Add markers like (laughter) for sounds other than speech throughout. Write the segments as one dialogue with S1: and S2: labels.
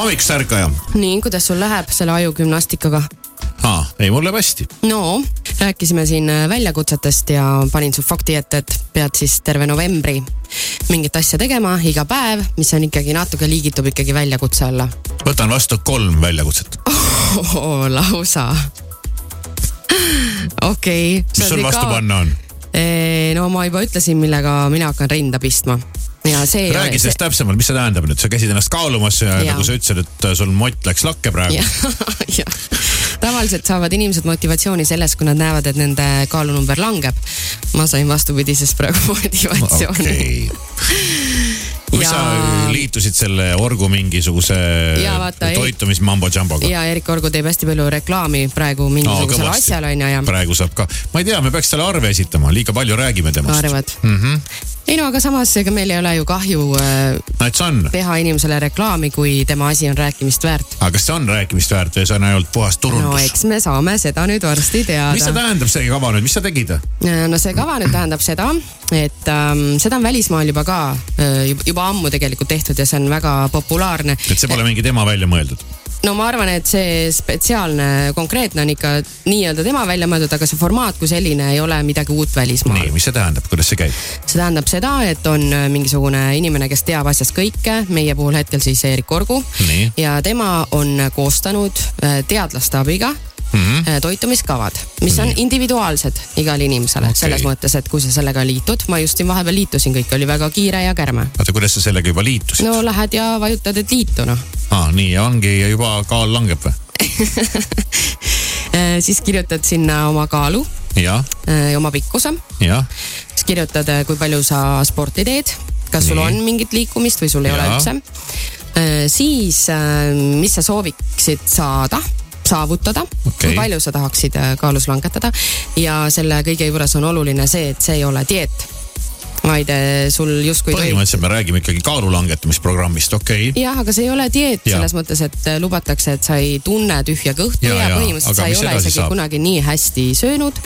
S1: amiksärkaja .
S2: nii , kuidas sul läheb selle ajugümnastikaga ?
S1: aa , ei mul läheb hästi .
S2: no rääkisime siin äh, väljakutsetest ja panin su fakti ette , et pead siis terve novembri mingit asja tegema iga päev , mis on ikkagi natuke liigitub ikkagi väljakutse alla
S1: võtan vastu kolm väljakutset .
S2: oh, . lausa . okei okay. .
S1: mis sul vastu panna on ?
S2: no ma juba ütlesin , millega mina hakkan rinda pistma ja see .
S1: räägi sellest täpsemalt , mis see tähendab nüüd , sa käisid ennast kaalumas ja, ja
S2: Jaa.
S1: nagu sa ütlesid , et sul mott läks lakke praegu .
S2: (laughs) jah , tavaliselt saavad inimesed motivatsiooni selles , kui nad näevad , et nende kaalunumber langeb . ma sain vastupidisest praegu (laughs) motivatsiooni okay. .
S1: okei . kui ja...
S2: Ja-
S1: sa liitusid selle orgu mingisuguse
S2: Jaa, vaata, ei-
S1: toitumismambo-jamboga .
S2: ja Erik Orgu teeb hästi palju reklaami praegu mingisugusele asjale onju ja
S1: praegu saab ka , ma ei tea , me peaks talle arve esitama , liiga palju räägime temast .
S2: arvad mm .
S1: Mhm.
S2: -hmm. ei no aga samas , ega meil ei ole ju kahju äh,
S1: no et see on ,
S2: teha inimesele reklaami , kui tema asi on rääkimist väärt .
S1: aga kas see on rääkimist väärt või see on ainult puhas
S2: no
S1: turundus ?
S2: eks me saame seda nüüd varsti
S1: mis see
S2: teada .
S1: tähendab , see kava nüüd , mis sa tegid ?
S2: no see kava nüüd tähendab seda , et ähm, seda on välismaal juba ka äh, jub- juba ammu tegelikult tehtud ja see on väga populaarne .
S1: et see pole mingi tema välja mõeldud .
S2: no ma arvan , et see spetsiaalne , konkreetne on ikka nii-öelda tema välja mõeldud , aga see formaat kui selline ei ole midagi uut välismaal
S1: nii ,. mis see tähendab , kuidas see käib ?
S2: see tähendab seda , et on äh, mingisugune inimene , kes teab asjast kõike , meie puhul hetkel siis Eerik Orgu .
S1: Nii.
S2: ja tema on koostanud äh, teadlaste abiga mm
S1: Mhm.
S2: -hmm. toitumiskavad , mis on individuaalsed igale inimesele
S1: Okei.
S2: okay. selles mõttes , et kui sa sellega liitud , ma just siin vahepeal liitusin , kõik oli väga kiire ja kärme .
S1: oota , kuidas sa sellega juba liitusid no. ?
S2: no lähed ja vajutad , et liitu noh .
S1: aa , nii ja ongi ja juba kaal langeb või ?
S2: (laughs) Äh, siis kirjutad sinna oma kaalu ,
S1: jah ,
S2: oma pikkuse
S1: jah ,
S2: siis kirjutad , kui palju sa sporti teed , kas sul
S1: Nii.
S2: on mingit liikumist või sul ei ole
S1: Jaa.
S2: üldse . siis , mis sa sooviksid saada , saavutada
S1: Okei.
S2: kui palju sa tahaksid äh, kaalus langetada ja selle kõige juures on oluline see , et see ei ole dieet , vaid äh, sul justkui tohib-
S1: põhimõtteliselt me räägime ikkagi kaalu langetamisprogrammist , okei okay. .
S2: jah , aga see ei ole dieet
S1: Jaa.
S2: selles mõttes , et äh, lubatakse , et sa ei tunne tühja kõhtu
S1: Jaa,
S2: ja, ja
S1: jaa,
S2: põhimõtteliselt
S1: aga
S2: sa ei
S1: mis
S2: ole
S1: edasi
S2: isegi
S1: saab?
S2: saab? kunagi nii hästi söönud .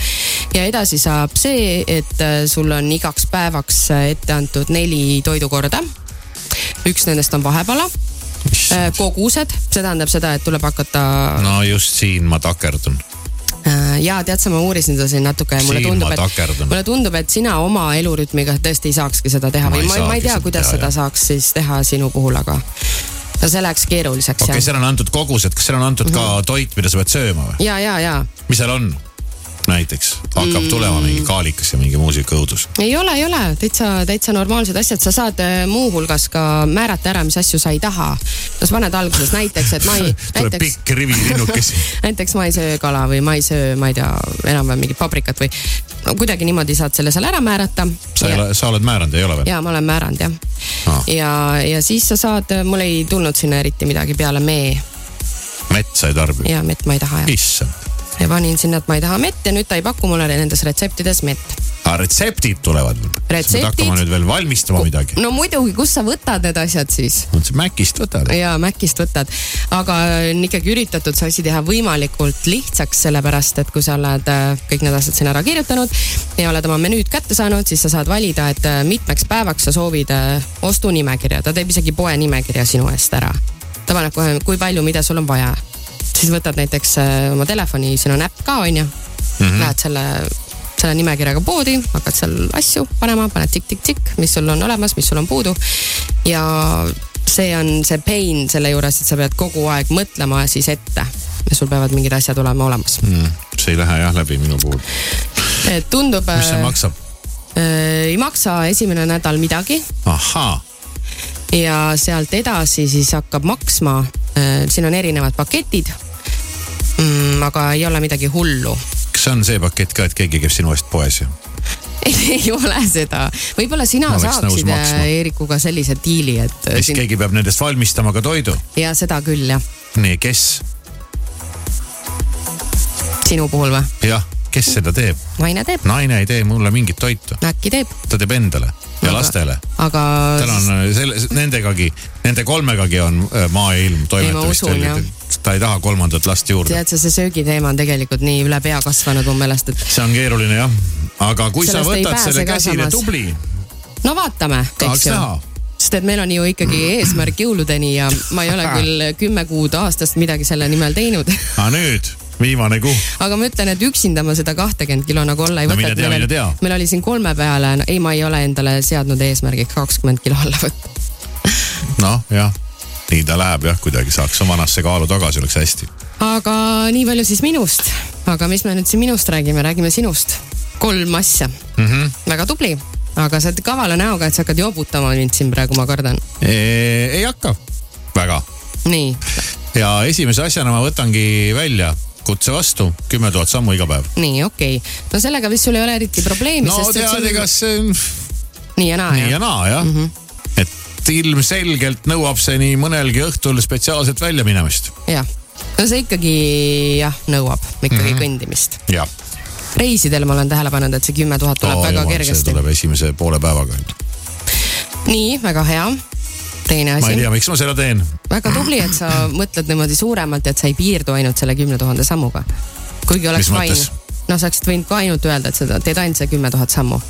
S2: ja edasi saab see , et äh, sul on igaks päevaks äh, ette antud neli toidukorda . üks nendest on vahepala , Äh, kogused , see tähendab seda , et tuleb hakata
S1: no just siin ma takerdun .
S2: äh, ja tead sa , ma uurisin seda siin natuke ja mulle
S1: Siin
S2: tundub ,
S1: ma
S2: et
S1: takerdun.
S2: mulle tundub , et sina oma elurütmiga tõesti ei saakski seda teha
S1: Ma
S2: või
S1: ei
S2: ma, ma
S1: saagi
S2: ei tea
S1: seda ,
S2: kuidas
S1: teha,
S2: seda
S1: jah.
S2: saaks siis teha sinu puhul , aga no see Mhm. läheks keeruliseks
S1: okei okay, , seal on antud kogused , kas seal on antud ka toit , mida sa pead sööma või ?
S2: ja , ja , ja
S1: mis seal on ? näiteks hakkab mm. tulema mingi kaalikas ja mingi muusika õudus .
S2: ei ole , ei ole , täitsa , täitsa normaalsed asjad , sa saad äh, muuhulgas ka määrata ära , mis asju sa ei taha . no sa paned alguses näiteks , et ma
S1: (laughs)
S2: ei ,
S1: tuleb
S2: näiteks ,
S1: pikk rivi linnukesi .
S2: näiteks ma ei söö kala või ma ei söö , ma ei tea , enam-vähem mingit paprikat või no kuidagi niimoodi saad selle seal ära määrata .
S1: sa
S2: (laughs)
S1: ei ole , sa oled määranud , ei ole veel ?
S2: ja ma olen määranud jah
S1: Aa.
S2: ah. . ja , ja siis sa saad , mul ei tulnud sinna eriti midagi peale mee
S1: mett sa ei tarbi ?
S2: ja mett ma ei taha jah .
S1: issand ,
S2: ja panin sinna , et ma ei taha mett ja nüüd ta ei paku mulle nendes retseptides mett .
S1: aga retseptid tulevad mul .
S2: Retseptid?
S1: hakkame nüüd veel valmistama midagi .
S2: no muidugi , kust sa võtad need asjad siis ?
S1: mõtlesin Mäkist võtad .
S2: ja Macist võtad , aga äh, on ikkagi üritatud see asi teha võimalikult lihtsaks , sellepärast et kui sa oled äh, kõik need asjad sinna ära kirjutanud ja oled oma menüüd kätte saanud , siis sa saad valida , et äh, mitmeks päevaks sa soovid äh, ostunimekirja , ta teeb isegi poe nimekirja sinu eest ära . ta paneb kohe , kui palju , mida sul on vaja . siis võtad näiteks äh, oma telefoni , siin on äpp ka onju mm ,
S1: Mhm.
S2: -hmm. lähed selle selle nimekirjaga poodi , hakkad seal asju panema , paned tikk-tikk-tikk , mis sul on olemas , mis sul on puudu ja see on see pain selle juures , et sa pead kogu aeg mõtlema siis ette ja sul peavad mingid asjad olema olemas .
S1: Mm, see ei lähe jah läbi minu puhul .
S2: tundub ,
S1: mis see maksab ?
S2: ei maksa esimene nädal midagi
S1: ahhaa ,
S2: ja sealt edasi siis hakkab maksma . siin on erinevad paketid mm, . aga ei ole midagi hullu
S1: kas see on see pakett ka , et keegi käib sinu eest poes ja ?
S2: ei (laughs) ole seda , võib-olla sina
S1: Ma oleks nõus
S2: saaksid
S1: maksma.
S2: äh, Eerikuga sellise diili , et
S1: ja siis
S2: sind...
S1: keegi peab nendest valmistama ka toidu .
S2: ja seda küll jah ,
S1: nii , kes ?
S2: sinu puhul või ?
S1: jah , kes seda teeb ?
S2: naine teeb ,
S1: naine ei tee mulle mingit toitu ,
S2: äkki teeb ,
S1: ta teeb endale ja
S2: Aga-
S1: lastele .
S2: aga .
S1: tal on äh, selle , nendegagi , nende kolmegagi on äh, maailm toimetamist
S2: usun, jah. .
S1: ta ei taha kolmandat last juurde .
S2: tead sa , see söögiteema on tegelikult nii üle pea kasvanud mu meelest , et
S1: see on keeruline jah , aga kui sa
S2: Sellest ei
S1: võtad
S2: pääse
S1: selle
S2: ka
S1: käsile
S2: samas.
S1: tubli ,
S2: no vaatame ,
S1: tahaks
S2: eks ju
S1: näha .
S2: sest et meil on ju ikkagi eesmärk jõuludeni ja ma ei ole
S1: Ah.
S2: küll kümme kuud aastast midagi selle nimel teinud . (laughs)
S1: aga Ah, nüüd , viimane kuu .
S2: aga ma ütlen , et üksinda ma seda kahtekümmet kilo nagu olla ei
S1: No
S2: võta .
S1: mine tea, mine tea.
S2: meil oli siin kolme peale no, , ei , ma ei ole endale seadnud eesmärgiks kakskümmend kilo alla võtta .
S1: noh , jah , nii ta läheb jah , kuidagi saaks vanasse kaalu tagasi , oleks hästi .
S2: aga nii palju siis minust . aga mis me nüüd siin minust räägime , räägime sinust . kolm asja mm .
S1: Mhm.
S2: -hmm. väga tubli , aga sa oled kavala näoga , et sa hakkad joobutama mind siin praegu , ma kardan .
S1: ei hakka väga
S2: nii ,
S1: ja esimese asjana ma võtangi välja kutse vastu kümme tuhat sammu iga päev .
S2: nii okei okay. . no sellega vist sul ei ole eriti probleemi ,
S1: no
S2: sest
S1: tead ,
S2: sul...
S1: ega see on nagu-
S2: nii ja naa
S1: nii
S2: jah
S1: ja naa jah mm , -hmm. et ilmselgelt nõuab see nii mõnelgi õhtul spetsiaalselt välja minemist .
S2: jah , no see ikkagi jah , nõuab ikkagi
S1: Mhm.
S2: mm -hmm. kõndimist .
S1: jah .
S2: reisidel ma olen tähele pannud , et see kümme tuhat tuleb oh, väga jumal,
S1: see
S2: kergesti .
S1: tuleb esimese poole päevaga .
S2: nii , väga hea . teine
S1: ma ei
S2: asi ,
S1: tea , miks ma seda teen .
S2: väga tubli , et sa mõtled niimoodi suuremalt , et sa ei piirdu ainult selle kümne tuhande sammuga . kuigi oleks
S1: Mis
S2: fine
S1: mõttes? .
S2: no sa oleksid võinud ka ainult öelda , et sa teed ainult see kümme tuhat sammu .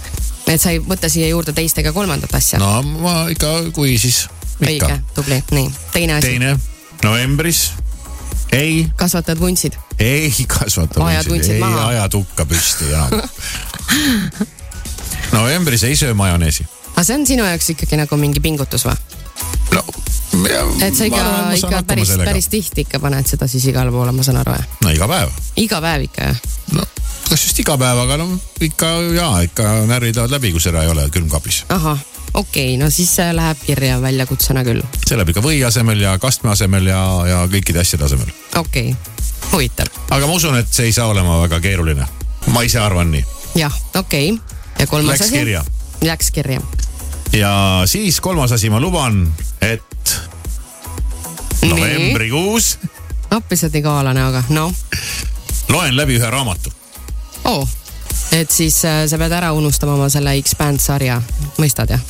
S2: et sa ei võta siia juurde teist ega kolmandat asja no, .
S1: no ma ikka , kui siis
S2: õige
S1: ikka .,
S2: tubli , nii , teine asi .
S1: teine , novembris ei ,
S2: kasvatad vuntsid ,
S1: ei kasvata .
S2: Ajad vuntsid
S1: ei
S2: maha.
S1: aja tukka püsti enam . novembris ei söö majoneesi
S2: aga see on sinu jaoks ikkagi nagu mingi pingutus või ?
S1: no, .
S2: et sa ikka , ikka päris , päris . tihti ikka paned seda siis igale poole , ma saan aru , jah ?
S1: no iga päev ,
S2: iga päev ikka , jah ?
S1: no kas just iga päev , aga no ikka ja ikka närvid lähevad läbi , kui seda ei ole külmkapis .
S2: ahah , okei okay, , no siis see läheb kirja väljakutsena küll ,
S1: see läheb ikka või asemel ja kastme asemel ja , ja kõikide asjade asemel .
S2: okei okay. , huvitav ,
S1: aga ma usun , et see ei saa olema väga keeruline . ma ise arvan nii .
S2: jah , okei okay. ja kolmas
S1: Läks
S2: asi .
S1: kirja. .
S2: Läks kirja ,
S1: ja siis kolmas asi , ma luban , et novembrikuus
S2: appiselt nii kaala näoga , noh
S1: loen läbi ühe raamatu .
S2: oh. . et siis äh, sa pead ära unustama oma selle X-band sarja , mõistad jah ?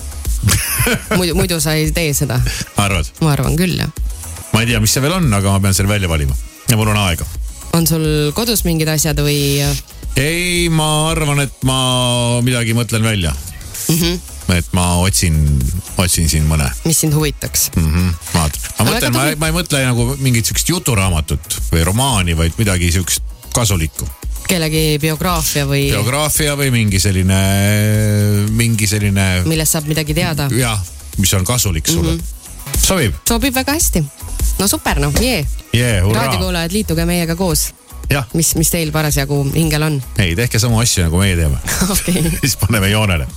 S2: muidu , muidu sa ei tee seda ,
S1: arvad ?
S2: ma arvan küll jah .
S1: ma ei tea , mis see veel on , aga ma pean selle välja valima ja mul on aega
S2: on sul kodus mingid asjad või äh,
S1: ei , ma arvan , et ma midagi mõtlen välja mm . -hmm. et ma otsin , otsin siin mõne
S2: mis sind huvitaks ?
S1: mm . -hmm. vaata , ma
S2: Aga
S1: mõtlen , ma,
S2: tubli.
S1: ma ei mõtle nagu mingit siukest juturaamatut või romaani , vaid midagi siukest kasulikku .
S2: kellegi biograafia või Biogra
S1: geograafia või mingi selline , mingi selline
S2: millest saab midagi teada ?
S1: jah , mis on kasulik sulle mm . -hmm. sobib ?
S2: sobib väga hästi . no super noh , jee
S1: jee , hurraa .
S2: raadiokuulajad , liituge meiega koos ,
S1: jah ,
S2: mis , mis teil parasjagu hingel on . (laughs)
S1: ei tehke samu asju , nagu meie teeme ,
S2: okei .
S1: siis paneme joonele